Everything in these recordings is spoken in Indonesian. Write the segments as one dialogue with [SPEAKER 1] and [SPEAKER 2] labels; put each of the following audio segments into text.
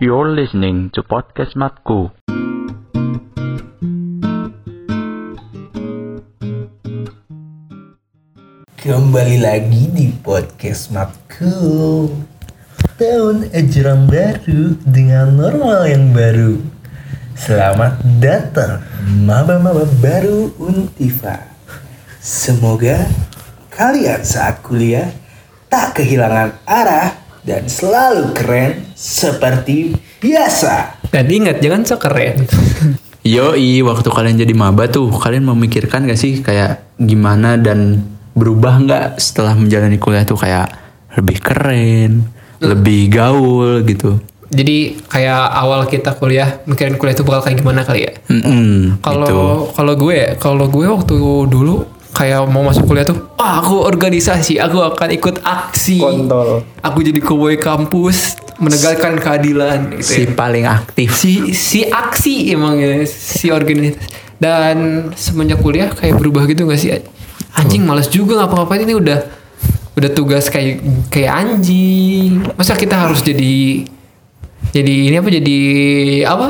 [SPEAKER 1] You're listening to podcast Matku.
[SPEAKER 2] Kembali lagi di podcast Matku Tahun ajaran baru dengan normal yang baru Selamat datang maba-maba baru Untiva Semoga kalian saat kuliah tak kehilangan arah dan selalu keren seperti biasa.
[SPEAKER 3] Dan ingat jangan sekeren.
[SPEAKER 1] Yoi, waktu kalian jadi maba tuh, kalian memikirkan gak sih kayak gimana dan berubah nggak setelah menjalani kuliah tuh kayak lebih keren, lebih gaul gitu.
[SPEAKER 3] Jadi kayak awal kita kuliah mikirin kuliah itu bakal kayak gimana kali ya.
[SPEAKER 1] Mm-mm, Hmm, gitu.
[SPEAKER 3] Kalau kalau gue kalau gue waktu dulu kayak mau masuk kuliah tuh, ah aku organisasi, aku akan ikut aksi.
[SPEAKER 2] Kontol.
[SPEAKER 3] Aku jadi koboi kampus menegakkan keadilan gitu.
[SPEAKER 1] si
[SPEAKER 3] ya.
[SPEAKER 1] paling aktif.
[SPEAKER 3] Si si aksi emang ya, si organisasi. Dan semenjak kuliah kayak berubah gitu gak sih? Anjing males juga ngapa-ngapain ini udah udah tugas kayak kayak anjing. Masa kita harus jadi jadi ini apa jadi apa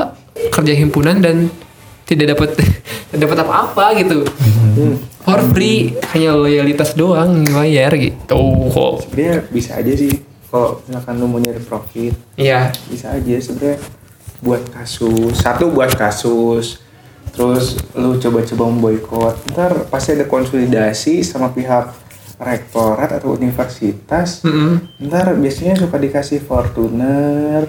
[SPEAKER 3] kerja himpunan dan tidak dapat tidak dapat apa-apa gitu. For free hanya loyalitas doang yang bayar gitu. kok.
[SPEAKER 4] sebenarnya ya bisa aja sih kalau misalkan lu mau nyari profit
[SPEAKER 3] Iya.
[SPEAKER 4] bisa aja sebenarnya buat kasus satu buat kasus terus lu coba-coba memboikot ntar pasti ada konsolidasi sama pihak rektorat atau universitas
[SPEAKER 3] Mm-mm.
[SPEAKER 4] ntar biasanya suka dikasih Fortuner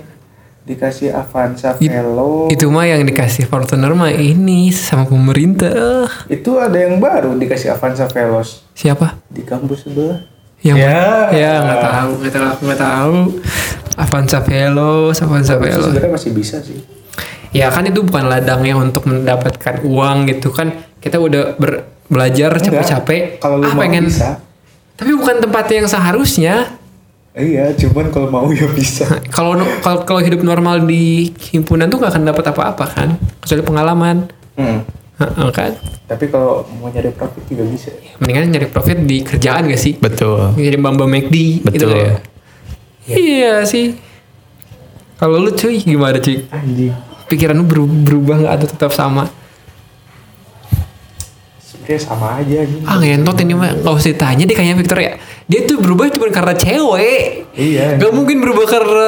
[SPEAKER 4] dikasih Avanza Velo
[SPEAKER 3] Itu mah yang dikasih Fortuner mah ini sama pemerintah. Ah,
[SPEAKER 4] itu ada yang baru dikasih Avanza Velos
[SPEAKER 3] Siapa?
[SPEAKER 4] di kampus sebelah
[SPEAKER 3] Yang ya nggak tahu, nggak tahu, aku nggak tahu. Avanza Velos, Avanza
[SPEAKER 4] Itu
[SPEAKER 3] Velos.
[SPEAKER 4] sebenarnya masih bisa sih
[SPEAKER 3] Ya kan itu bukan ladangnya untuk mendapatkan uang gitu kan. Kita udah ber- belajar
[SPEAKER 4] Enggak.
[SPEAKER 3] capek-capek.
[SPEAKER 4] kalau lu
[SPEAKER 3] Ah,
[SPEAKER 4] mau
[SPEAKER 3] pengen-
[SPEAKER 4] bisa
[SPEAKER 3] Tapi bukan tempatnya yang seharusnya. Nah,
[SPEAKER 4] Iya, cuman kalau mau ya bisa.
[SPEAKER 3] Kalau kalau kalau hidup normal di himpunan tuh nggak akan dapat apa-apa kan, kecuali pengalaman, Heeh, kan. Ya,
[SPEAKER 4] Tapi kalau mau nyari profit juga bisa.
[SPEAKER 3] Mendingan nyari profit di kerjaan gak sih?
[SPEAKER 1] Betul.
[SPEAKER 3] Jadi Bamba McD gitu
[SPEAKER 1] Betul.
[SPEAKER 3] kali ya. Iya sih. Kalau lu cuy gimana cuy?
[SPEAKER 4] Anjing.
[SPEAKER 3] Pikiran lu beru- berubah nggak atau tetap sama?
[SPEAKER 4] Sebenarnya sama aja anjing.
[SPEAKER 3] Ah ngentot ini mah nggak usah ditanya deh kayaknya Victor ya. Dia tuh berubah cuma karena cewek.
[SPEAKER 4] Iya.
[SPEAKER 3] Gak mungkin berubah karena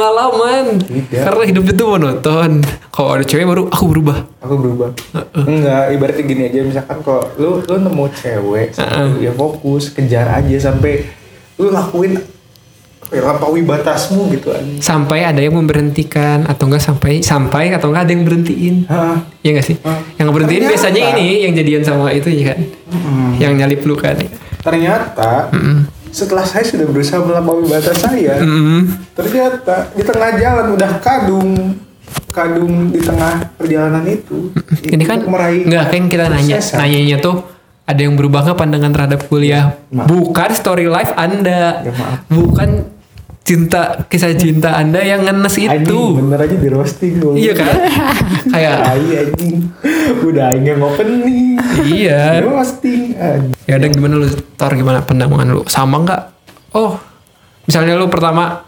[SPEAKER 3] pengalaman.
[SPEAKER 4] Tidak.
[SPEAKER 3] Karena hidup itu monoton. Kalau ada cewek baru aku berubah.
[SPEAKER 4] Aku berubah. Enggak, ibaratnya gini aja misalkan kalau lu lu nemu cewek, satu, ya fokus, kejar aja sampai lu lakuin ya, lampaui batasmu gitu anjing.
[SPEAKER 3] sampai ada yang memberhentikan atau enggak sampai sampai atau enggak ada yang berhentiin
[SPEAKER 4] Hah.
[SPEAKER 3] ya enggak sih
[SPEAKER 4] Hah?
[SPEAKER 3] yang berhentiin
[SPEAKER 4] Ternyata.
[SPEAKER 3] biasanya ini yang jadian sama itu ya kan yang nyalip lu kan
[SPEAKER 4] Ternyata setelah saya sudah berusaha melampaui batas saya,
[SPEAKER 3] Mm-mm.
[SPEAKER 4] ternyata di tengah jalan udah kadung kadung di tengah perjalanan itu
[SPEAKER 3] ini kan
[SPEAKER 4] Untuk meraih
[SPEAKER 3] enggak kan kita nanya
[SPEAKER 4] kesuksesan.
[SPEAKER 3] nanyanya tuh ada yang berubah nggak pandangan terhadap kuliah
[SPEAKER 4] Ya, Maaf.
[SPEAKER 3] bukan story life anda
[SPEAKER 4] Ya, maaf.
[SPEAKER 3] bukan cinta kisah cinta anda yang ngenes itu
[SPEAKER 4] Anjing, bener aja di roasting lu.
[SPEAKER 3] iya kan kayak
[SPEAKER 4] Tai anjing. Udah aja opening.
[SPEAKER 3] iya
[SPEAKER 4] Di roasting. anjing.
[SPEAKER 3] ya udah gimana lu tar gimana pandangan lu sama nggak oh misalnya lu pertama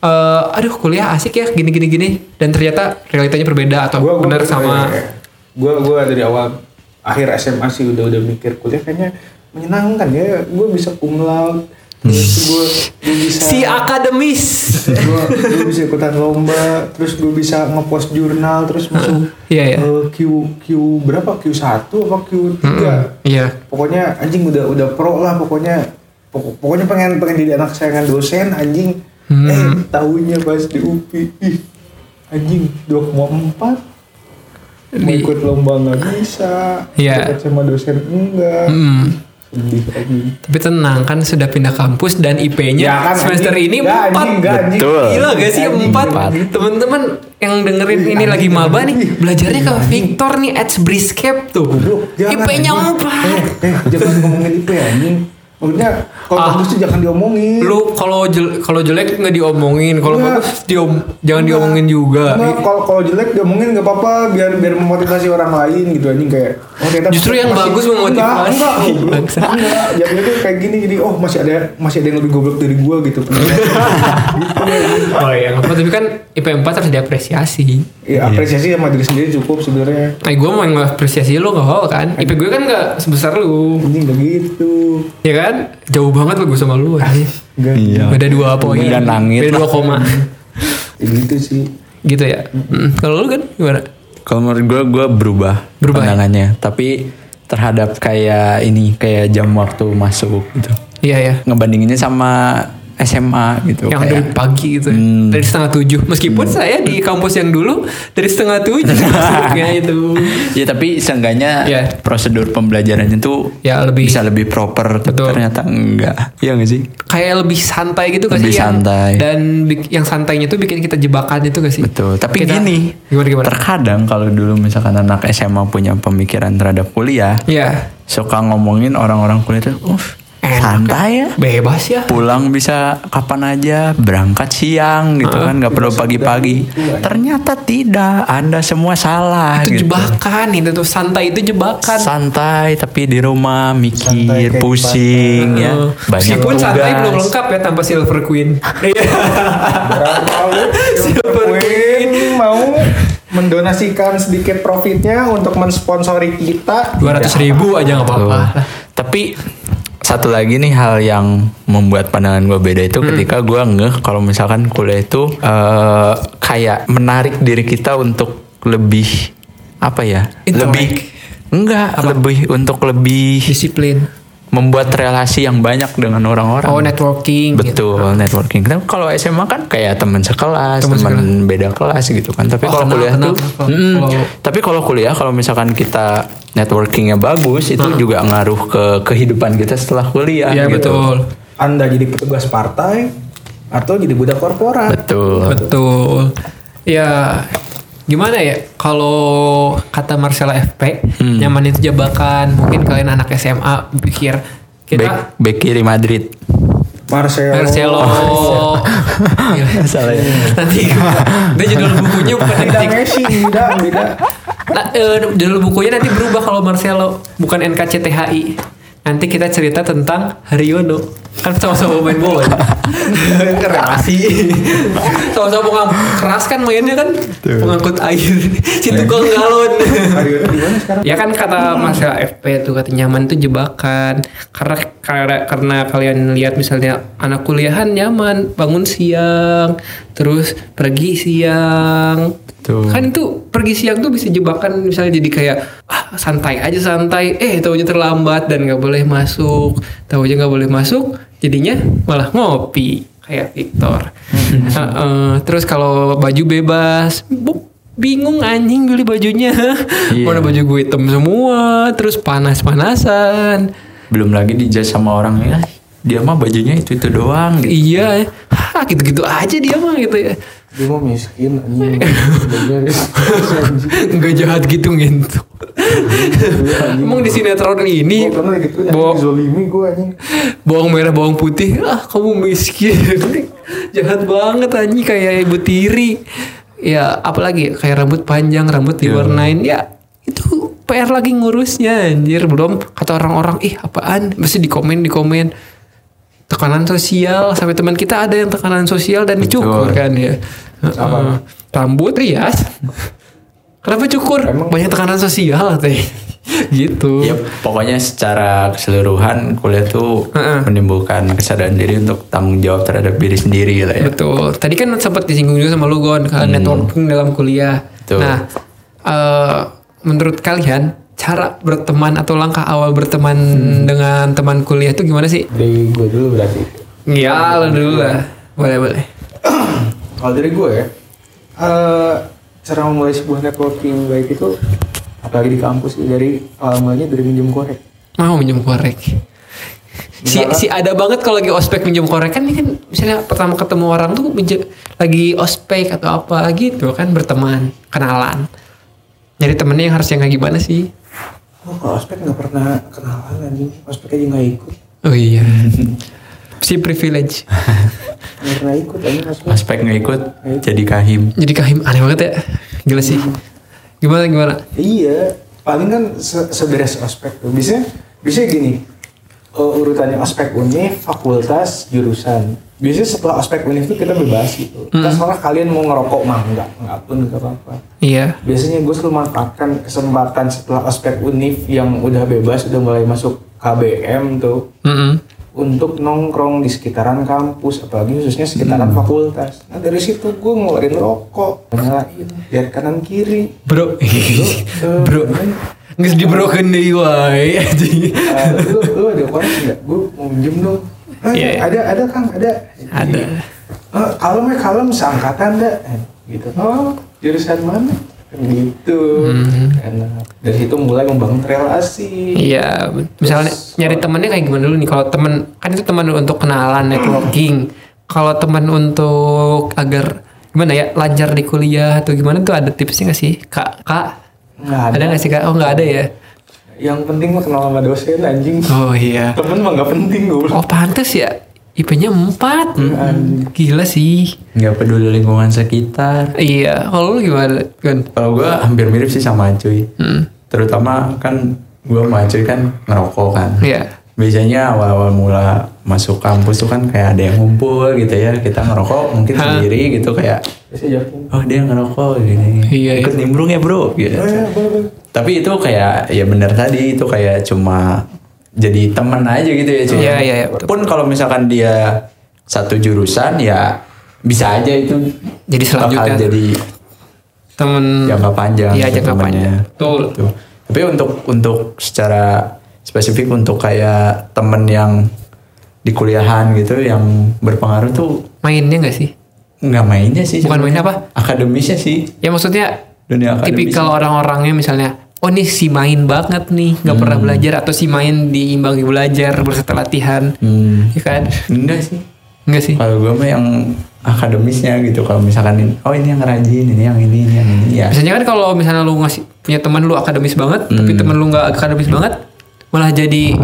[SPEAKER 3] eh aduh kuliah asik ya gini gini gini dan ternyata realitanya berbeda atau
[SPEAKER 4] Gua Iya, gua ya.
[SPEAKER 3] benar sama
[SPEAKER 4] Gua gua dari awal akhir SMA sih udah udah mikir kuliah kayaknya menyenangkan ya. Gua bisa cum laude. Terus gua, gua bisa
[SPEAKER 3] si akademis
[SPEAKER 4] Iya. gua, gua bisa ikutan lomba, terus gua bisa ngepost jurnal, terus masuk
[SPEAKER 3] iya ya
[SPEAKER 4] eh, Q Q berapa Q1 apa Q3.
[SPEAKER 3] iya
[SPEAKER 4] pokoknya anjing udah udah pro lah pokoknya pokok- pokoknya pengen pengen jadi anak sayangan dosen anjing
[SPEAKER 3] Hmm.
[SPEAKER 4] eh tahunya pas di UPI ih, anjing 2,4 mau
[SPEAKER 3] Di-
[SPEAKER 4] ikut lomba nggak bisa
[SPEAKER 3] Iya.
[SPEAKER 4] dekat sama dosen enggak
[SPEAKER 3] Mm.
[SPEAKER 4] sedih anjing
[SPEAKER 3] tapi tenang kan sudah pindah kampus dan IP-nya
[SPEAKER 4] Ya kan,
[SPEAKER 3] semester
[SPEAKER 4] anjing.
[SPEAKER 3] ini
[SPEAKER 4] Nggak,
[SPEAKER 3] empat
[SPEAKER 4] anjing, nggak, anjing.
[SPEAKER 1] Betul.
[SPEAKER 3] gila gak sih
[SPEAKER 4] Anjing,
[SPEAKER 3] empat
[SPEAKER 1] empat.
[SPEAKER 3] teman-teman yang dengerin ini lagi maba nih belajarnya ke Victor nih at Briskep tuh
[SPEAKER 4] Goblok, jangan,
[SPEAKER 3] IP-nya
[SPEAKER 4] anjing.
[SPEAKER 3] empat
[SPEAKER 4] eh, eh, jangan ngomongin IP anjing maksudnya kalau
[SPEAKER 3] Ah.
[SPEAKER 4] bagus tuh jangan diomongin
[SPEAKER 3] lu kalau jel- kalau jelek nggak diomongin kalau
[SPEAKER 4] Enggak.
[SPEAKER 3] bagus diom jangan
[SPEAKER 4] Enggak.
[SPEAKER 3] diomongin juga
[SPEAKER 4] Enggak, kalau kalau jelek diomongin nggak apa-apa biar biar memotivasi orang lain gitu anjing kayak oh ternyata
[SPEAKER 3] Justru yang bagus memotivasi.
[SPEAKER 4] enggak enggak goblok.
[SPEAKER 3] Bangsa.
[SPEAKER 4] enggak jadi tuh kayak Iya, gini jadi oh masih ada masih ada yang lebih goblok dari gua gitu Bener. gitu
[SPEAKER 3] oh ya nggak berapa tapi kan IP 4 harus diapresiasi.
[SPEAKER 4] Ya, apresiasi sama diri sendiri cukup sebenarnya.
[SPEAKER 3] Nah, gue mau yang apresiasi lo nggak hal kan? IP gue kan nggak sebesar lu,
[SPEAKER 4] Ini begitu.
[SPEAKER 3] ya kan? Jauh banget lo gue sama lu. anjing.
[SPEAKER 4] Enggak.
[SPEAKER 1] Iya.
[SPEAKER 3] Beda dua poin.
[SPEAKER 1] Beda langit
[SPEAKER 3] Beda dua
[SPEAKER 1] lah.
[SPEAKER 3] koma.
[SPEAKER 4] Ya gitu sih.
[SPEAKER 3] gitu ya. Mm. Kalau lu kan gimana?
[SPEAKER 1] Kalau menurut gue, gue berubah,
[SPEAKER 3] Berubah ya?
[SPEAKER 1] pandangannya. Tapi terhadap kayak ini, kayak jam waktu masuk gitu.
[SPEAKER 3] Iya ya.
[SPEAKER 1] Ngebandinginnya sama SMA gitu.
[SPEAKER 3] Yang
[SPEAKER 1] kayak,
[SPEAKER 3] dari pagi gitu ya.
[SPEAKER 1] Hmm.
[SPEAKER 3] Dari setengah tujuh. Meskipun saya di kampus yang dulu dari setengah tujuh. masuknya itu.
[SPEAKER 1] Ya tapi seenggaknya
[SPEAKER 3] Iya.
[SPEAKER 1] prosedur pembelajarannya tuh
[SPEAKER 3] Ya, lebih-
[SPEAKER 1] bisa Ya. lebih proper. Tapi
[SPEAKER 3] Betul.
[SPEAKER 1] ternyata enggak. Iya gak sih?
[SPEAKER 3] Kayak lebih santai gitu gak
[SPEAKER 1] Lebih
[SPEAKER 3] sih? Yang-
[SPEAKER 1] santai.
[SPEAKER 3] dan bi- yang santainya tuh bikin kita jebakan itu gak sih?
[SPEAKER 1] Betul. Tapi
[SPEAKER 3] Kita-
[SPEAKER 1] gini,
[SPEAKER 3] Gimana gimana?
[SPEAKER 1] terkadang kalau dulu misalkan anak SMA punya pemikiran terhadap kuliah,
[SPEAKER 3] Iya.
[SPEAKER 1] suka ngomongin orang-orang kuliah tuh, uff,
[SPEAKER 3] Enak.
[SPEAKER 1] santai ya.
[SPEAKER 3] Bebas ya.
[SPEAKER 1] Pulang bisa kapan aja, berangkat siang gitu kan, nggak perlu pagi-pagi. Ternyata tidak, anda semua salah.
[SPEAKER 3] itu
[SPEAKER 1] gitu.
[SPEAKER 3] jebakan itu tuh santai itu jebakan
[SPEAKER 1] Santai tapi di rumah
[SPEAKER 4] Santai
[SPEAKER 1] mikir,
[SPEAKER 4] kayak
[SPEAKER 1] pusing ya.
[SPEAKER 3] Oh.
[SPEAKER 1] Banyak
[SPEAKER 3] meskipun
[SPEAKER 1] tugas.
[SPEAKER 3] santai belum lengkap ya tanpa silver queen Iya. Silver
[SPEAKER 4] Queen mau mendonasikan sedikit profitnya untuk mensponsori kita.
[SPEAKER 3] dua ratus ribu aja nggak apa-apa
[SPEAKER 1] Tuh. Tapi satu lagi nih hal yang membuat pandangan gue beda itu ketika gue ngeh kalau misalkan kuliah itu eh, kayak menarik diri kita untuk lebih apa ya?
[SPEAKER 3] Intelek.
[SPEAKER 1] Lebih enggak, lebih untuk lebih
[SPEAKER 3] disiplin
[SPEAKER 1] membuat relasi yang banyak dengan orang-orang.
[SPEAKER 3] oh networking gitu.
[SPEAKER 1] Betul, networking. Tapi kalau SMA kan kayak teman sekelas,
[SPEAKER 3] Teman
[SPEAKER 1] teman beda kelas gitu kan.
[SPEAKER 3] Oh,
[SPEAKER 1] Tapi kalau
[SPEAKER 3] kenal,
[SPEAKER 1] kuliah
[SPEAKER 3] kenal,
[SPEAKER 1] tuh,
[SPEAKER 3] kenal.
[SPEAKER 1] Mm-mm.
[SPEAKER 3] Kalau-
[SPEAKER 1] tapi kalau kuliah kalau misalkan kita networkingnya bagus, itu juga ngaruh ke kehidupan kita setelah kuliah.
[SPEAKER 3] Hmm. Iya
[SPEAKER 1] gitu.
[SPEAKER 3] betul
[SPEAKER 4] Anda jadi petugas partai atau jadi budak korporat.
[SPEAKER 1] Betul.
[SPEAKER 3] betul ya gimana ya kalau kata Marcella FP
[SPEAKER 1] Hmm.
[SPEAKER 3] nyaman itu jebakan mungkin kalian anak SMA pikir
[SPEAKER 1] Back,
[SPEAKER 3] kita
[SPEAKER 1] back kiri Madrid.
[SPEAKER 4] Marcelo.
[SPEAKER 3] Marcelo Gila.
[SPEAKER 1] Oh, Salah ya.
[SPEAKER 3] Iya. nanti dia judul bukunya bukan
[SPEAKER 4] Tidak
[SPEAKER 3] titik
[SPEAKER 4] Messi, tidak, tidak.
[SPEAKER 3] Nah, eh, judul bukunya nanti berubah kalau Marcelo bukan NKCTHI. Nanti kita cerita tentang Haryono. Kan sama-sama main bola. Relasi. sama-sama pengang- keras kan mainnya kan. Pengangkut air. Situ gol galon.
[SPEAKER 4] Mario di mana sekarang?
[SPEAKER 3] ya kan kata Marcelo FP tuh kata nyaman tuh jebakan. Karena karena, karena kalian lihat misalnya anak kuliahan nyaman bangun siang, terus pergi siang,
[SPEAKER 1] Betul.
[SPEAKER 3] kan itu pergi siang tuh bisa jebakan misalnya jadi kayak ah santai aja santai eh taunya terlambat dan nggak boleh masuk taunya nggak boleh masuk jadinya malah ngopi kayak Victor Ah, eh, terus kalau baju bebas bu- bingung anjing beli bajunya
[SPEAKER 1] Iya.
[SPEAKER 3] mana baju gue hitam semua terus panas panasan
[SPEAKER 1] Belum lagi dijudge sama orang ya. Dia mah bajunya itu itu doang. Gitu.
[SPEAKER 3] iya ah gitu gitu aja dia mah gitu ya
[SPEAKER 4] Dia mau miskin anjing. Bener.
[SPEAKER 3] nggak jahat gitu gitu emang di sinetron ini
[SPEAKER 4] Iya, Gua pernah gitu
[SPEAKER 3] Bo-
[SPEAKER 4] anjing zolimi gue anjing.
[SPEAKER 3] bawang merah bawang putih ah kamu miskin jahat banget anjing kayak ibu tiri ya apalagi ya, kayak rambut panjang rambut diwarnain ya itu PR lagi ngurusnya anjir belum kata orang-orang ih apaan mesti di komen di komen tekanan sosial sampai teman kita ada yang tekanan sosial dan dicukur
[SPEAKER 1] Betul.
[SPEAKER 3] kan ya Heeh. rambut rias kenapa cukur banyak tekanan sosial teh gitu
[SPEAKER 1] Ya, pokoknya secara keseluruhan kuliah tuh
[SPEAKER 3] Heeh.
[SPEAKER 1] menimbulkan kesadaran diri untuk tanggung jawab terhadap diri sendiri lah ya.
[SPEAKER 3] Betul. Tadi kan sempat disinggung juga sama lu Gon kan? Hmm. ke networking dalam kuliah.
[SPEAKER 1] Betul.
[SPEAKER 3] Nah, eh, menurut kalian cara berteman atau langkah awal berteman dengan teman kuliah itu gimana sih?
[SPEAKER 4] Dari gue dulu berarti.
[SPEAKER 3] Ya, lu dulu lah. Boleh, boleh.
[SPEAKER 4] Kalau dari gue ya, eh, cara memulai sebuah networking baik itu apalagi di kampus dari awalnya dari minjem korek.
[SPEAKER 3] Mau minjem korek. Si,
[SPEAKER 4] Misalkan-
[SPEAKER 3] si ada banget kalau lagi ospek minjem korek kan ini kan misalnya pertama ketemu orang tuh minjem- lagi ospek atau apa gitu kan berteman, kenalan. Jadi temennya yang harus yang kayak gimana sih?
[SPEAKER 4] Gue Oh, kalau ospek nggak pernah kenalan anjing, ospek aja nggak ikut,
[SPEAKER 3] Oh iya. si privilege.
[SPEAKER 4] nggak pernah ikut anjing ospek.
[SPEAKER 1] Aspek nggak ikut jadi kahim.
[SPEAKER 3] Jadi kahim aneh banget ya. Gila sih. Gimana gimana?
[SPEAKER 4] Iya, paling kan se- seberes ospek tuh. e, Biasanya, biasanya gini, eh, urutannya ospek unif, fakultas, jurusan. biasanya setelah ospek univ itu kita bebas gitu Kita salah kalian mau ngerokok mah enggak enggak pun enggak apa-apa
[SPEAKER 3] Iya.
[SPEAKER 4] biasanya gue selalu manfaatkan kesempatan setelah ospek univ yang udah bebas udah mulai masuk KBM tuh
[SPEAKER 3] Mm-mm.
[SPEAKER 4] untuk nongkrong di sekitaran kampus apalagi khususnya sekitaran fakultas nah dari situ gue ngeluarin rokok nyalain lihat kanan kiri
[SPEAKER 1] Bro.
[SPEAKER 4] Eh,
[SPEAKER 1] Bro.
[SPEAKER 3] Nggak dibroken deh, wai. anjing.
[SPEAKER 4] eh, lu, lu ada koneksi nggak gue mau minjem dong Eh,
[SPEAKER 3] Iya, iya.
[SPEAKER 4] ada ada kang ada
[SPEAKER 3] Ada.
[SPEAKER 4] Eh, kalem ya kalem seangkatan dah Eh, gitu oh jurusan mana gitu enak dari situ mulai membangun relasi
[SPEAKER 3] Iya, misalnya nyari temennya kayak gimana dulu nih? Kalau temen kan itu teman untuk kenalan networking. Kalau teman untuk agar gimana ya lancar di kuliah atau gimana tuh ada tipsnya nggak sih kak? Kak
[SPEAKER 4] nggak
[SPEAKER 3] ada
[SPEAKER 4] ada
[SPEAKER 3] nggak sih kak? Oh nggak ada ya?
[SPEAKER 4] yang penting mah kenal sama dosen anjing
[SPEAKER 3] Oh iya.
[SPEAKER 4] temen mah nggak penting gue
[SPEAKER 3] Oh pantes ya IP-nya 4 Gila sih.
[SPEAKER 1] Nggak peduli lingkungan sekitar.
[SPEAKER 3] Iya. Kalau lu gimana? Gun?
[SPEAKER 1] Kalau gue hampir mirip sih sama cuy.
[SPEAKER 3] Hmm.
[SPEAKER 1] Terutama kan gue sama cuy kan ngerokok kan.
[SPEAKER 3] Iya.
[SPEAKER 1] Biasanya awal-awal mula masuk kampus tuh kan kayak ada yang ngumpul gitu ya. Kita ngerokok mungkin sendiri gitu kayak
[SPEAKER 4] biasanya jawabnya
[SPEAKER 1] oh dia ngerokok gini.
[SPEAKER 3] Iya,
[SPEAKER 1] Ikut nimbrung ya bro gitu.
[SPEAKER 4] "Oh, ya, boleh, boleh."
[SPEAKER 1] Tapi itu kayak ya bener tadi itu kayak cuma jadi temen aja gitu ya cuy.
[SPEAKER 3] Iya, iya, iya, betul.
[SPEAKER 1] Pun kalau misalkan dia satu jurusan ya bisa aja itu
[SPEAKER 3] Jadi
[SPEAKER 1] bakal
[SPEAKER 3] selanjutnya.
[SPEAKER 1] jadi
[SPEAKER 3] Temen.
[SPEAKER 1] jangka panjang.
[SPEAKER 3] Iya
[SPEAKER 1] gitu
[SPEAKER 3] jangka
[SPEAKER 1] temennya.
[SPEAKER 3] panjang. Betul.
[SPEAKER 1] Gitu. Tapi untuk untuk secara spesifik untuk kayak temen yang di kuliahan gitu yang berpengaruh tuh
[SPEAKER 3] Mainnya nggak sih?
[SPEAKER 1] nggak mainnya sih.
[SPEAKER 3] Bukan
[SPEAKER 1] Iya,
[SPEAKER 3] mainnya
[SPEAKER 1] sebenarnya.
[SPEAKER 3] apa?
[SPEAKER 1] Akademisnya sih
[SPEAKER 3] Ya maksudnya
[SPEAKER 1] dunia akademis.
[SPEAKER 3] tipikal orang-orangnya misalnya oh nih si main banget nih nggak pernah
[SPEAKER 1] Hmm.
[SPEAKER 3] belajar atau si main diimbangi belajar berserta latihan
[SPEAKER 1] Hmm.
[SPEAKER 3] ya kan
[SPEAKER 1] Enggak sih.
[SPEAKER 3] nggak sih
[SPEAKER 1] Kalau gue mah yang akademisnya gitu. Kalau misalkan ini, oh ini yang rajin, ini yang ini, ini yang ini ya.
[SPEAKER 3] biasanya kan kalau misalnya lu ngasih punya teman lu akademis banget tapi
[SPEAKER 1] Hmm.
[SPEAKER 3] teman lu nggak akademis banget malah jadi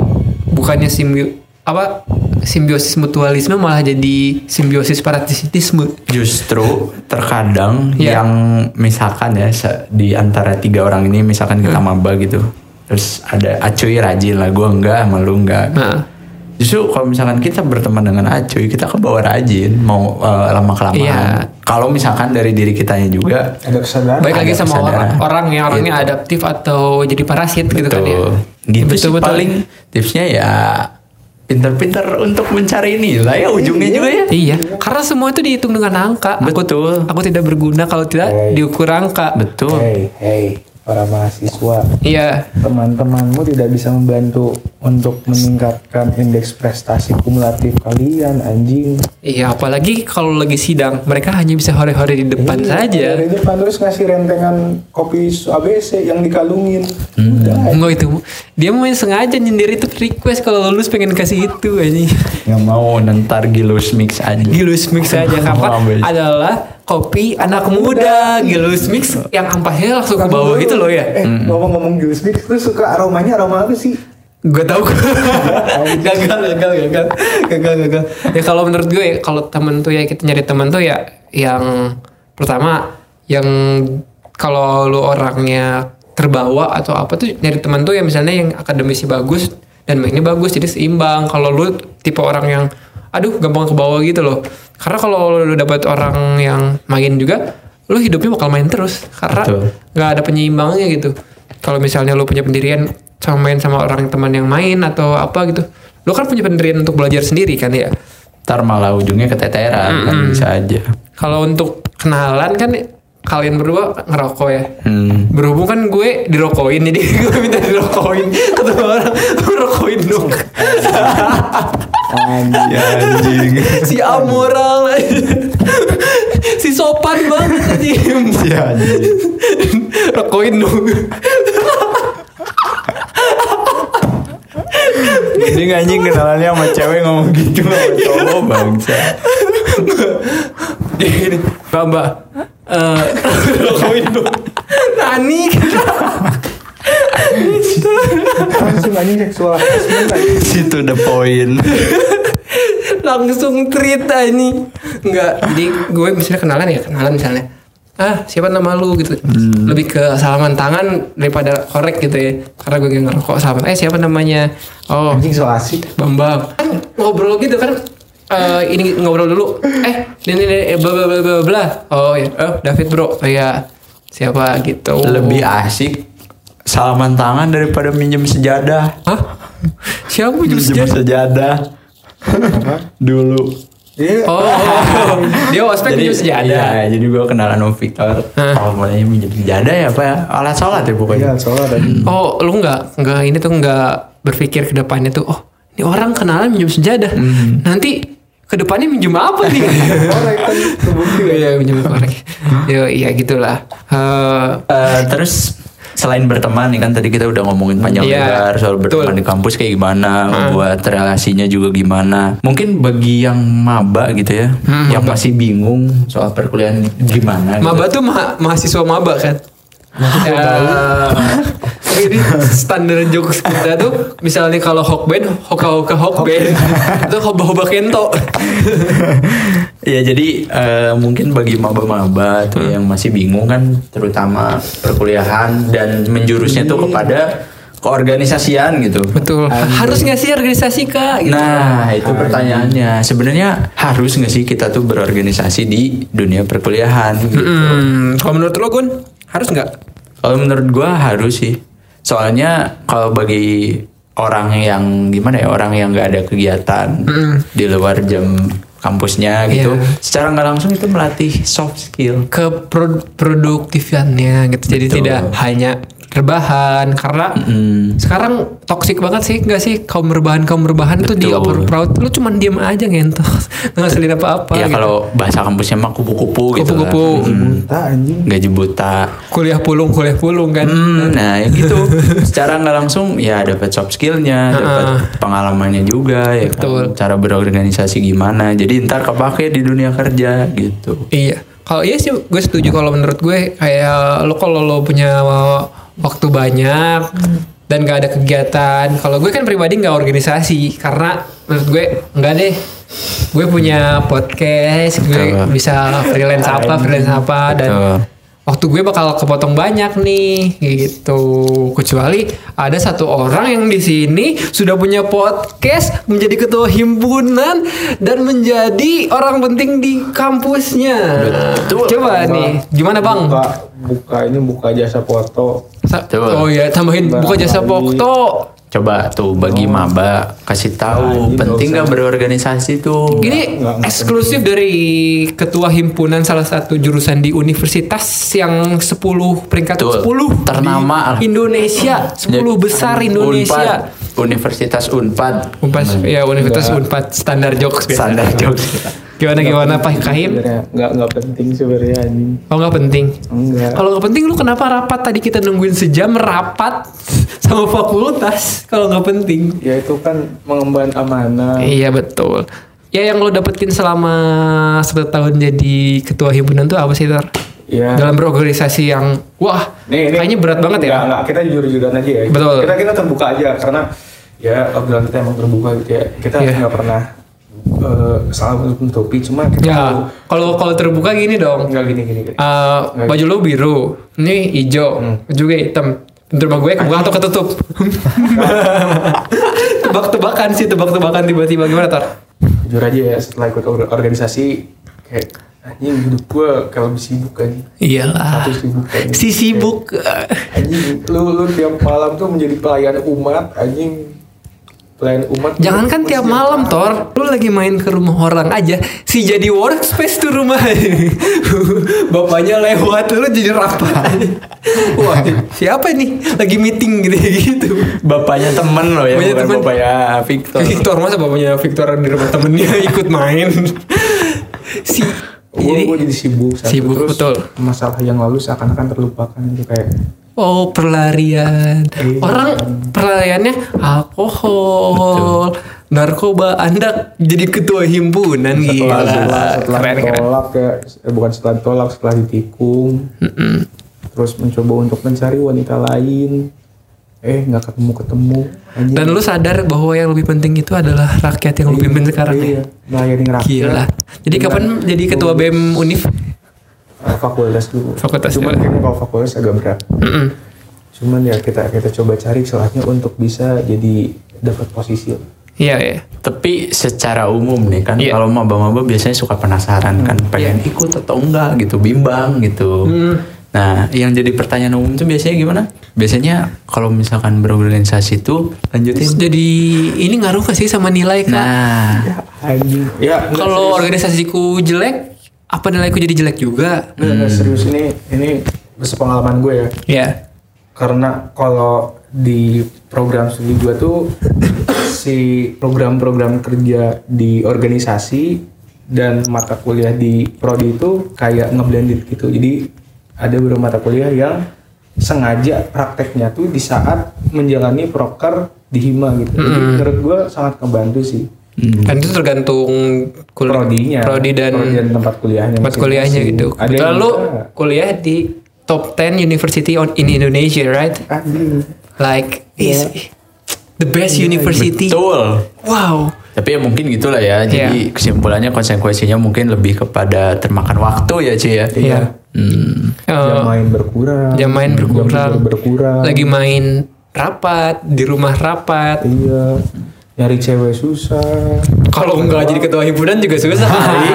[SPEAKER 3] bukannya simbio apa simbiosis mutualisme malah jadi simbiosis parasitisme
[SPEAKER 1] Justru terkadang
[SPEAKER 3] Iya.
[SPEAKER 1] yang misalkan ya se- di antara tiga orang ini misalkan kita
[SPEAKER 3] Hmm.
[SPEAKER 1] maba gitu. Terus ada Acuy rajin lah, gue enggak, sama lu enggak.
[SPEAKER 3] nah
[SPEAKER 1] Justru kalau misalkan kita berteman dengan Acuy, kita ke bawah rajin mau lama kelamaan.
[SPEAKER 3] Iya.
[SPEAKER 1] Kalau misalkan dari diri kitanya juga
[SPEAKER 4] ada kesadaran
[SPEAKER 3] baik lagi
[SPEAKER 1] Ada
[SPEAKER 3] sama orang
[SPEAKER 1] kesadaran.
[SPEAKER 3] orang yang orangnya
[SPEAKER 1] Gitu.
[SPEAKER 3] adaptif atau jadi parasit gitu kan ya
[SPEAKER 1] Tuh. Gitu sih
[SPEAKER 3] Betul-betul.
[SPEAKER 1] paling tipsnya ya pinter-pinter untuk mencari nilai ya ujungnya juga ya.
[SPEAKER 3] Iya, karena semua itu dihitung dengan angka. Aku-
[SPEAKER 1] Betul. Iya,
[SPEAKER 3] Aku, tidak berguna kalau tidak diukur angka.
[SPEAKER 1] Betul.
[SPEAKER 4] hey hey para mahasiswa
[SPEAKER 3] Iya.
[SPEAKER 4] teman-temanmu tidak bisa membantu untuk meningkatkan indeks prestasi kumulatif kalian anjing
[SPEAKER 3] Iya, apalagi kalau lagi sidang, mereka hanya bisa hore-hore di depan
[SPEAKER 4] Iya,
[SPEAKER 3] saja.
[SPEAKER 4] dari depan terus ngasih rentengan kopi su- ABC yang dikalungin
[SPEAKER 3] Hmm.
[SPEAKER 4] udah
[SPEAKER 3] Enggak itu. Dia main sengaja nyindir itu request kalau lulus pengen kasih itu ini.
[SPEAKER 1] Eh, Nggak mau nentar gilus mix aja.
[SPEAKER 3] Gilus mix saja kapan
[SPEAKER 1] Ambil.
[SPEAKER 3] adalah kopi anak muda Gilus mix yang ampasnya langsung ke bawah gitu loh ya
[SPEAKER 4] eh ngomong-ngomong Jules Mix lu suka aromanya aroma apa sih
[SPEAKER 3] gue tau gagal gagal gagal gagal gagal ya kalau menurut gue ya, kalau temen tuh ya kita nyari temen tuh ya yang pertama yang kalau lu orangnya terbawa atau apa tuh nyari temen tuh ya misalnya yang akademisi bagus dan mainnya bagus jadi seimbang kalau lu tipe orang yang aduh gampang ke bawah gitu loh karena kalau lu dapat orang yang main juga lu hidupnya bakal main terus karena
[SPEAKER 1] Betul.
[SPEAKER 3] nggak ada penyeimbangnya gitu kalau misalnya lu punya pendirian sama main sama orang teman yang main atau apa gitu lu kan punya pendirian untuk belajar sendiri kan ya
[SPEAKER 1] Ntar malah ujungnya keteteran kan bisa aja.
[SPEAKER 3] kalau untuk kenalan kan kalian berdua ngerokok ya
[SPEAKER 1] Hmm.
[SPEAKER 3] berhubung kan gue dirokoin jadi gue minta dirokoin ketemu orang rokoin dong
[SPEAKER 4] anjing
[SPEAKER 1] Ya anjing.
[SPEAKER 3] si amoral si sopan banget anjing
[SPEAKER 1] ya anjing.
[SPEAKER 3] rokoin dong
[SPEAKER 1] Mending anjing kenalannya sama cewek ngomong gitu sama cowok bangsa.
[SPEAKER 3] Gini, mbak mbak eh, rokoin dong nani
[SPEAKER 4] langsung anjing seksual harassment anjing.
[SPEAKER 1] Situ the point.
[SPEAKER 3] langsung treat ini enggak jadi gue misalnya kenalan ya kenalan misalnya ah siapa nama lu gitu
[SPEAKER 1] Hmm.
[SPEAKER 3] lebih ke salaman tangan daripada korek gitu ya karena gue gak ngerokok salaman eh siapa namanya oh
[SPEAKER 4] anjing so asik
[SPEAKER 3] bambang kan ngobrol gitu kan eh, ini ngobrol dulu. Eh, ini ini ini, bla bla bla bla bla. Oh ya, oh, David bro. Oh ya, siapa gitu.
[SPEAKER 1] Lebih asik salaman tangan daripada minjem sejadah.
[SPEAKER 3] Hah? Siapa
[SPEAKER 1] Minjem
[SPEAKER 3] jus
[SPEAKER 1] sejadah. Dulu.
[SPEAKER 4] Iya.
[SPEAKER 3] Oh, dia ospek
[SPEAKER 1] jadi,
[SPEAKER 3] jus sejadah.
[SPEAKER 1] Iya, jadi gue kenalan sama Victor.
[SPEAKER 3] Hah?
[SPEAKER 1] Kalau mulanya minjem sejadah ya apa ya? Alat sholat ya pokoknya.
[SPEAKER 4] Iya, soalnya ada.
[SPEAKER 3] Oh, lu nggak nggak ini tuh nggak berpikir ke depannya tuh. Oh, ini orang kenalan minjem sejadah. Nanti ke depannya minjem apa nih?
[SPEAKER 4] Orang kan kebukti ya.
[SPEAKER 3] Iya, minjem korek. Yo, iya gitulah. Eh,
[SPEAKER 1] Eh, terus selain berteman nih kan tadi kita udah ngomongin panjang
[SPEAKER 3] Iya,
[SPEAKER 1] lebar soal berteman
[SPEAKER 3] betul. Ah.
[SPEAKER 1] di kampus kayak gimana, buat relasinya juga gimana. Mungkin bagi yang maba gitu ya, yang masih bingung soal perkuliahan gimana.
[SPEAKER 3] Hmm, Maba
[SPEAKER 1] gitu.
[SPEAKER 3] tuh ma- mahasiswa maba kan. Ya. Jadi standar jokes kita tuh misalnya kalau hokben, hoka hoka hokben, itu hoba hoba kento.
[SPEAKER 1] Ya jadi eh, mungkin bagi maba-maba tuh
[SPEAKER 3] Hmm.
[SPEAKER 1] yang masih bingung kan, terutama perkuliahan dan menjurusnya tuh kepada keorganisasian gitu.
[SPEAKER 3] Hmm. Betul. Harus nggak sih organisasi kak? Gitu.
[SPEAKER 1] Nah, itu pertanyaannya.
[SPEAKER 3] iya.
[SPEAKER 1] Sebenarnya harus nggak sih kita tuh berorganisasi di dunia perkuliahan? gitu?
[SPEAKER 3] Hmm, kalau menurut lo Gun, harus nggak?
[SPEAKER 1] Kalau menurut gua harus sih. Soalnya kalau bagi orang yang gimana ya, orang yang nggak ada kegiatan di luar jam kampusnya gitu,
[SPEAKER 3] Iya.
[SPEAKER 1] secara nggak langsung itu melatih soft skill.
[SPEAKER 3] Ke pro- produktifannya gitu. Jadi
[SPEAKER 1] Betul.
[SPEAKER 3] tidak hanya rebahan karena sekarang toksik banget sih nggak sih kaum rebahan kaum rebahan tuh di
[SPEAKER 1] Betul.
[SPEAKER 3] over crowd lu cuman diem aja ngentot nggak ngasilin apa apa gitu?
[SPEAKER 1] ya kalau bahasa kampusnya mah kupu-kupu gitu. lah.
[SPEAKER 3] kupu-kupu
[SPEAKER 4] Entah anjing.
[SPEAKER 1] Gaji buta.
[SPEAKER 3] kuliah pulung kuliah pulung kan
[SPEAKER 1] Hmm, nah ya gitu. Secara nggak langsung ya dapat soft skillnya, dapat pengalamannya juga ya. kan.
[SPEAKER 3] Betul.
[SPEAKER 1] Cara berorganisasi gimana. Jadi ntar kepake di dunia kerja gitu.
[SPEAKER 3] iya kalau iya sih gue setuju kalau menurut gue kayak lo kalau lo punya waktu banyak dan gak ada kegiatan kalau gue kan pribadi nggak organisasi karena menurut gue nggak deh gue punya podcast gue
[SPEAKER 1] Betul.
[SPEAKER 3] bisa freelance apa freelance apa dan
[SPEAKER 1] Betul.
[SPEAKER 3] waktu gue bakal kepotong banyak nih gitu kecuali ada satu orang yang di sini sudah punya podcast menjadi ketua himpunan dan menjadi orang penting di kampusnya
[SPEAKER 1] Betul.
[SPEAKER 3] coba nih gimana bang
[SPEAKER 4] Buka, buka ini buka jasa foto.
[SPEAKER 3] Sa-
[SPEAKER 1] Betul.
[SPEAKER 3] oh ya tambahin buka jasa pokto
[SPEAKER 1] Coba tuh bagi
[SPEAKER 3] Oh.
[SPEAKER 1] maba kasih tahu
[SPEAKER 4] Nah,
[SPEAKER 1] penting nggak
[SPEAKER 4] nggak
[SPEAKER 1] berorganisasi tuh.
[SPEAKER 3] Ini
[SPEAKER 4] nggak- nggak
[SPEAKER 3] eksklusif dari ketua himpunan salah satu jurusan di universitas yang 10 peringkat
[SPEAKER 1] Betul.
[SPEAKER 3] 10
[SPEAKER 1] Ternama.
[SPEAKER 3] di Indonesia, 10 besar Indonesia.
[SPEAKER 1] Unpad, Universitas Unpad.
[SPEAKER 3] Unpad, ya Universitas Unpad standar jokes biasa.
[SPEAKER 1] Standar jokes.
[SPEAKER 3] Gimana gimana Pak Kahim?
[SPEAKER 4] Sebenarnya nggak nggak penting sebenarnya anjing.
[SPEAKER 3] Oh nggak penting.
[SPEAKER 4] Enggak.
[SPEAKER 3] Kalau nggak penting lu kenapa rapat tadi kita nungguin sejam rapat sama fakultas kalau nggak penting?
[SPEAKER 4] Ya itu kan mengemban amanah.
[SPEAKER 3] Iya betul. Ya yang lo dapetin selama satu tahun jadi ketua himpunan tuh apa sih Tor?
[SPEAKER 1] Ya.
[SPEAKER 4] Iya.
[SPEAKER 3] Dalam berorganisasi yang wah
[SPEAKER 4] Nih,
[SPEAKER 3] kayaknya berat banget ya.
[SPEAKER 4] Enggak, enggak, kita jujur-jujuran aja ya.
[SPEAKER 3] Betul.
[SPEAKER 4] Kita kita terbuka aja karena ya obrolan kita emang terbuka gitu ya. Kita
[SPEAKER 3] Iya.
[SPEAKER 4] nggak pernah eh, salah menutupi, cuma kita
[SPEAKER 3] Ya
[SPEAKER 4] tahu
[SPEAKER 3] kalau kalau terbuka gini dong.
[SPEAKER 4] enggak gini gini. gini.
[SPEAKER 3] Eh, baju lo biru, ini hijau, juga hitam. Bentar rumah gue kebuka atau ketutup? tebak-tebakan sih, tebak-tebakan tiba-tiba gimana Tor?
[SPEAKER 4] Jujur aja ya setelah ikut or- organisasi kayak anjing hidup gue kalau lebih sibuk anjing.
[SPEAKER 3] Iyalah.
[SPEAKER 4] Satu sibuk anjing.
[SPEAKER 3] Si sibuk.
[SPEAKER 4] Anjing, lu lu tiap malam tuh menjadi pelayan umat, anjing. Pelayan umat.
[SPEAKER 3] Jangan kan tiap malam Tor, lu lagi main ke rumah orang aja, si jadi workspace tuh rumah. Bapaknya lewat, lu jadi rapat. Wah, siapa nih lagi meeting gitu, gitu-gitu.
[SPEAKER 1] Bapaknya temen loh ya,
[SPEAKER 3] Bapaknya
[SPEAKER 1] bukan
[SPEAKER 3] temen.
[SPEAKER 1] bapaknya Victor.
[SPEAKER 3] Victor masa bapaknya Victor di rumah temennya ikut main. si
[SPEAKER 4] Gue
[SPEAKER 3] jadi
[SPEAKER 4] jadi sibuk.
[SPEAKER 3] Sibuk, betul.
[SPEAKER 4] Masalah yang lalu seakan-akan terlupakan gitu kayak.
[SPEAKER 3] Oh perlarian
[SPEAKER 4] Iya.
[SPEAKER 3] Orang perlariannya alkohol Narkoba Anda jadi ketua himpunan
[SPEAKER 4] setelah setelah,
[SPEAKER 3] Gila
[SPEAKER 4] setelah
[SPEAKER 3] Iya, Keren keren
[SPEAKER 4] ditolak ya eh, bukan setelah ditolak setelah ditikung terus mencoba untuk mencari wanita lain eh nggak ketemu ketemu
[SPEAKER 3] Dan lu sadar bahwa yang lebih penting itu adalah
[SPEAKER 4] Iya,
[SPEAKER 3] rakyat yang lu pimpin sekarang ya
[SPEAKER 4] melayani rakyat
[SPEAKER 3] Gila Jadi
[SPEAKER 4] Dengan
[SPEAKER 3] kapan jadi ketua BEM Unif?
[SPEAKER 4] eh, fakultas dulu
[SPEAKER 3] Fakultas dulu.
[SPEAKER 4] cuman kayaknya kalau fakultas agak berat cuman ya kita kita coba cari celahnya untuk bisa jadi dapat posisi
[SPEAKER 3] Iya, iya.
[SPEAKER 1] Tapi secara umum nih kan
[SPEAKER 3] Iya. Hmm.
[SPEAKER 1] kalau maba-maba biasanya suka penasaran kan pengen ikut atau enggak gitu, bimbang gitu. Nah, yang jadi pertanyaan umum tuh biasanya gimana? Biasanya kalau misalkan berorganisasi tuh
[SPEAKER 3] Terus
[SPEAKER 1] lanjutin.
[SPEAKER 3] Jadi ini ngaruh gak sih sama nilai kak?
[SPEAKER 1] Nah,
[SPEAKER 3] Iya.
[SPEAKER 4] Anjing. Ya, enggak,
[SPEAKER 3] Kalau organisasiku jelek, apa nilaiku jadi jelek juga?
[SPEAKER 4] enggak, enggak, Eh, serius ini ini sepengalaman gue ya.
[SPEAKER 3] Iya.
[SPEAKER 4] karena kalau di program studi gua tuh si program-program kerja di organisasi dan mata kuliah di prodi itu kayak ngeblended gitu jadi ada beberapa mata kuliah yang sengaja prakteknya tuh di saat menjalani proker di hima gitu jadi menurut gua sangat ngebantu sih
[SPEAKER 3] Dan itu tergantung kul-
[SPEAKER 4] Hmm. prodinya
[SPEAKER 3] prodi dan
[SPEAKER 4] tempat kuliahnya
[SPEAKER 3] tempat
[SPEAKER 4] masing-masing.
[SPEAKER 3] kuliahnya gitu.
[SPEAKER 4] ada yang
[SPEAKER 3] Lalu
[SPEAKER 4] bisa,
[SPEAKER 3] kuliah di top 10 university on in Indonesia, right? eh,
[SPEAKER 4] anjing
[SPEAKER 3] Like is
[SPEAKER 4] Iya.
[SPEAKER 3] the best university.
[SPEAKER 1] betul.
[SPEAKER 3] Wow.
[SPEAKER 1] Tapi ya mungkin gitulah ya.
[SPEAKER 3] Iya.
[SPEAKER 1] Jadi kesimpulannya konsekuensinya mungkin lebih kepada termakan waktu ya, Ci ya.
[SPEAKER 3] Iya.
[SPEAKER 1] Hmm.
[SPEAKER 4] jam
[SPEAKER 3] Eh,
[SPEAKER 4] main berkurang
[SPEAKER 3] jam main berkurang.
[SPEAKER 4] tidur berkurang
[SPEAKER 3] Lagi main rapat di rumah rapat.
[SPEAKER 4] Iya, nyari cewek susah.
[SPEAKER 3] Kalau nggak jadi ketua himpunan juga susah. kali.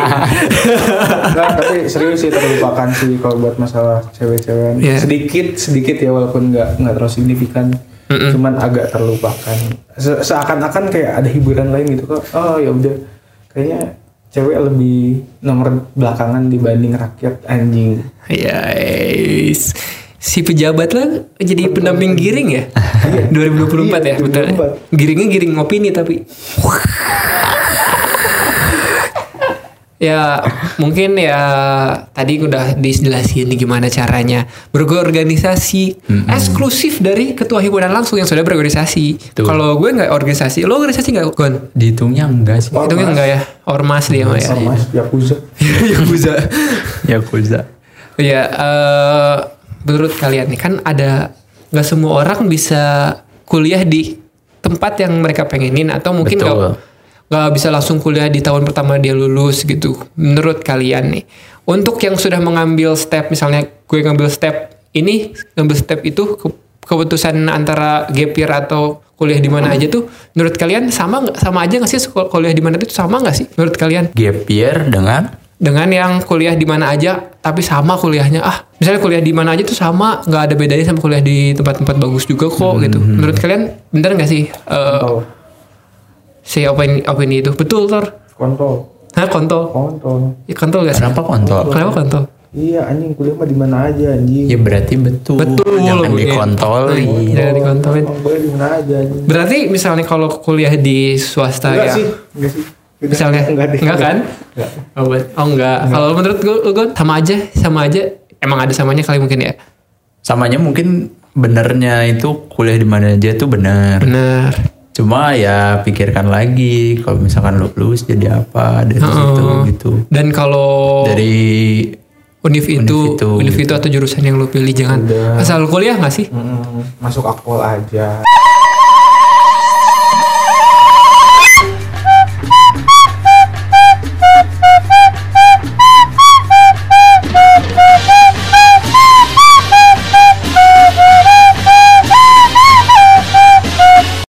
[SPEAKER 4] Enggak, tapi serius sih terlupakan sih kalau buat masalah cewek-cewek.
[SPEAKER 3] Iya.
[SPEAKER 4] Sedikit, sedikit ya walaupun nggak nggak terlalu signifikan. Cuman agak terlupakan. Se- Seakan-akan kayak ada hiburan lain gitu kok. Oh ya udah, kayaknya cewek lebih nomor belakangan dibanding rakyat anjing.
[SPEAKER 3] Ya, yes. si pejabat lah jadi pendamping giring ya. 2024 ya,
[SPEAKER 4] Iya,
[SPEAKER 3] betul.
[SPEAKER 4] 2024.
[SPEAKER 3] Giringnya giring opini tapi. ya, mungkin ya tadi udah dijelasin gimana caranya berorganisasi eksklusif dari ketua himpunan langsung yang sudah berorganisasi.
[SPEAKER 1] Tuh.
[SPEAKER 3] Kalau gue nggak organisasi, lo organisasi nggak Gon?
[SPEAKER 1] Dihitungnya enggak sih.
[SPEAKER 4] Ormas.
[SPEAKER 3] Itu enggak ya? Ormas dia mah ya.
[SPEAKER 4] Sama Yakuza.
[SPEAKER 3] Eh, Yakuza.
[SPEAKER 1] Yakuza.
[SPEAKER 3] Iya, eh menurut kalian nih kan ada nggak semua orang bisa kuliah di tempat yang mereka pengenin atau mungkin nggak
[SPEAKER 1] Betul.
[SPEAKER 3] nggak bisa langsung kuliah di tahun pertama dia lulus gitu. Menurut kalian nih, untuk yang sudah mengambil step misalnya gue ngambil step ini, ngambil step itu ke- keputusan antara gap year atau kuliah di mana aja tuh menurut kalian sama nggak sama aja nggak sih sekol- kuliah di mana itu sama nggak sih menurut kalian
[SPEAKER 1] Gap year dengan
[SPEAKER 3] dengan yang kuliah di mana aja tapi sama kuliahnya ah misalnya kuliah di mana aja tuh sama nggak ada bedanya sama kuliah di tempat-tempat bagus juga kok gitu menurut kalian bener nggak sih eh,
[SPEAKER 4] Kontol,
[SPEAKER 3] si opini opini itu betul tor
[SPEAKER 4] kontol,
[SPEAKER 3] Hah, kontol
[SPEAKER 4] kontol.
[SPEAKER 3] ya, kontol nggak sih
[SPEAKER 1] kenapa kontol?
[SPEAKER 3] kenapa kontol
[SPEAKER 4] Iya anjing kuliah mah di mana aja anjing.
[SPEAKER 1] Ya berarti betul.
[SPEAKER 3] betul
[SPEAKER 1] Jangan
[SPEAKER 3] Bun. Iya,
[SPEAKER 1] dikontoli.
[SPEAKER 3] jangan dikontolin
[SPEAKER 4] Emang boleh di mana aja anjing.
[SPEAKER 3] berarti misalnya kalau kuliah di swasta
[SPEAKER 4] Enggak
[SPEAKER 3] ya
[SPEAKER 4] sih, enggak sih. Udah,
[SPEAKER 3] misalnya
[SPEAKER 4] enggak deh.
[SPEAKER 3] kan
[SPEAKER 4] Enggak.
[SPEAKER 3] oh, bet- oh, enggak kalau menurut gue, gue sama aja sama aja emang ada samanya kali mungkin ya
[SPEAKER 1] Samanya mungkin benernya itu kuliah di mana aja tuh bener.
[SPEAKER 3] bener
[SPEAKER 1] Cuma ya pikirkan lagi kalau misalkan lu lulus jadi apa dari situ
[SPEAKER 3] Heeh. Oh.
[SPEAKER 1] gitu.
[SPEAKER 3] dan kalau
[SPEAKER 1] Dari
[SPEAKER 3] Univ itu,
[SPEAKER 1] Univ itu, gitu.
[SPEAKER 3] univ itu atau jurusan yang lu pilih jangan asal kuliah nggak sih?
[SPEAKER 4] Mm, masuk akpol aja.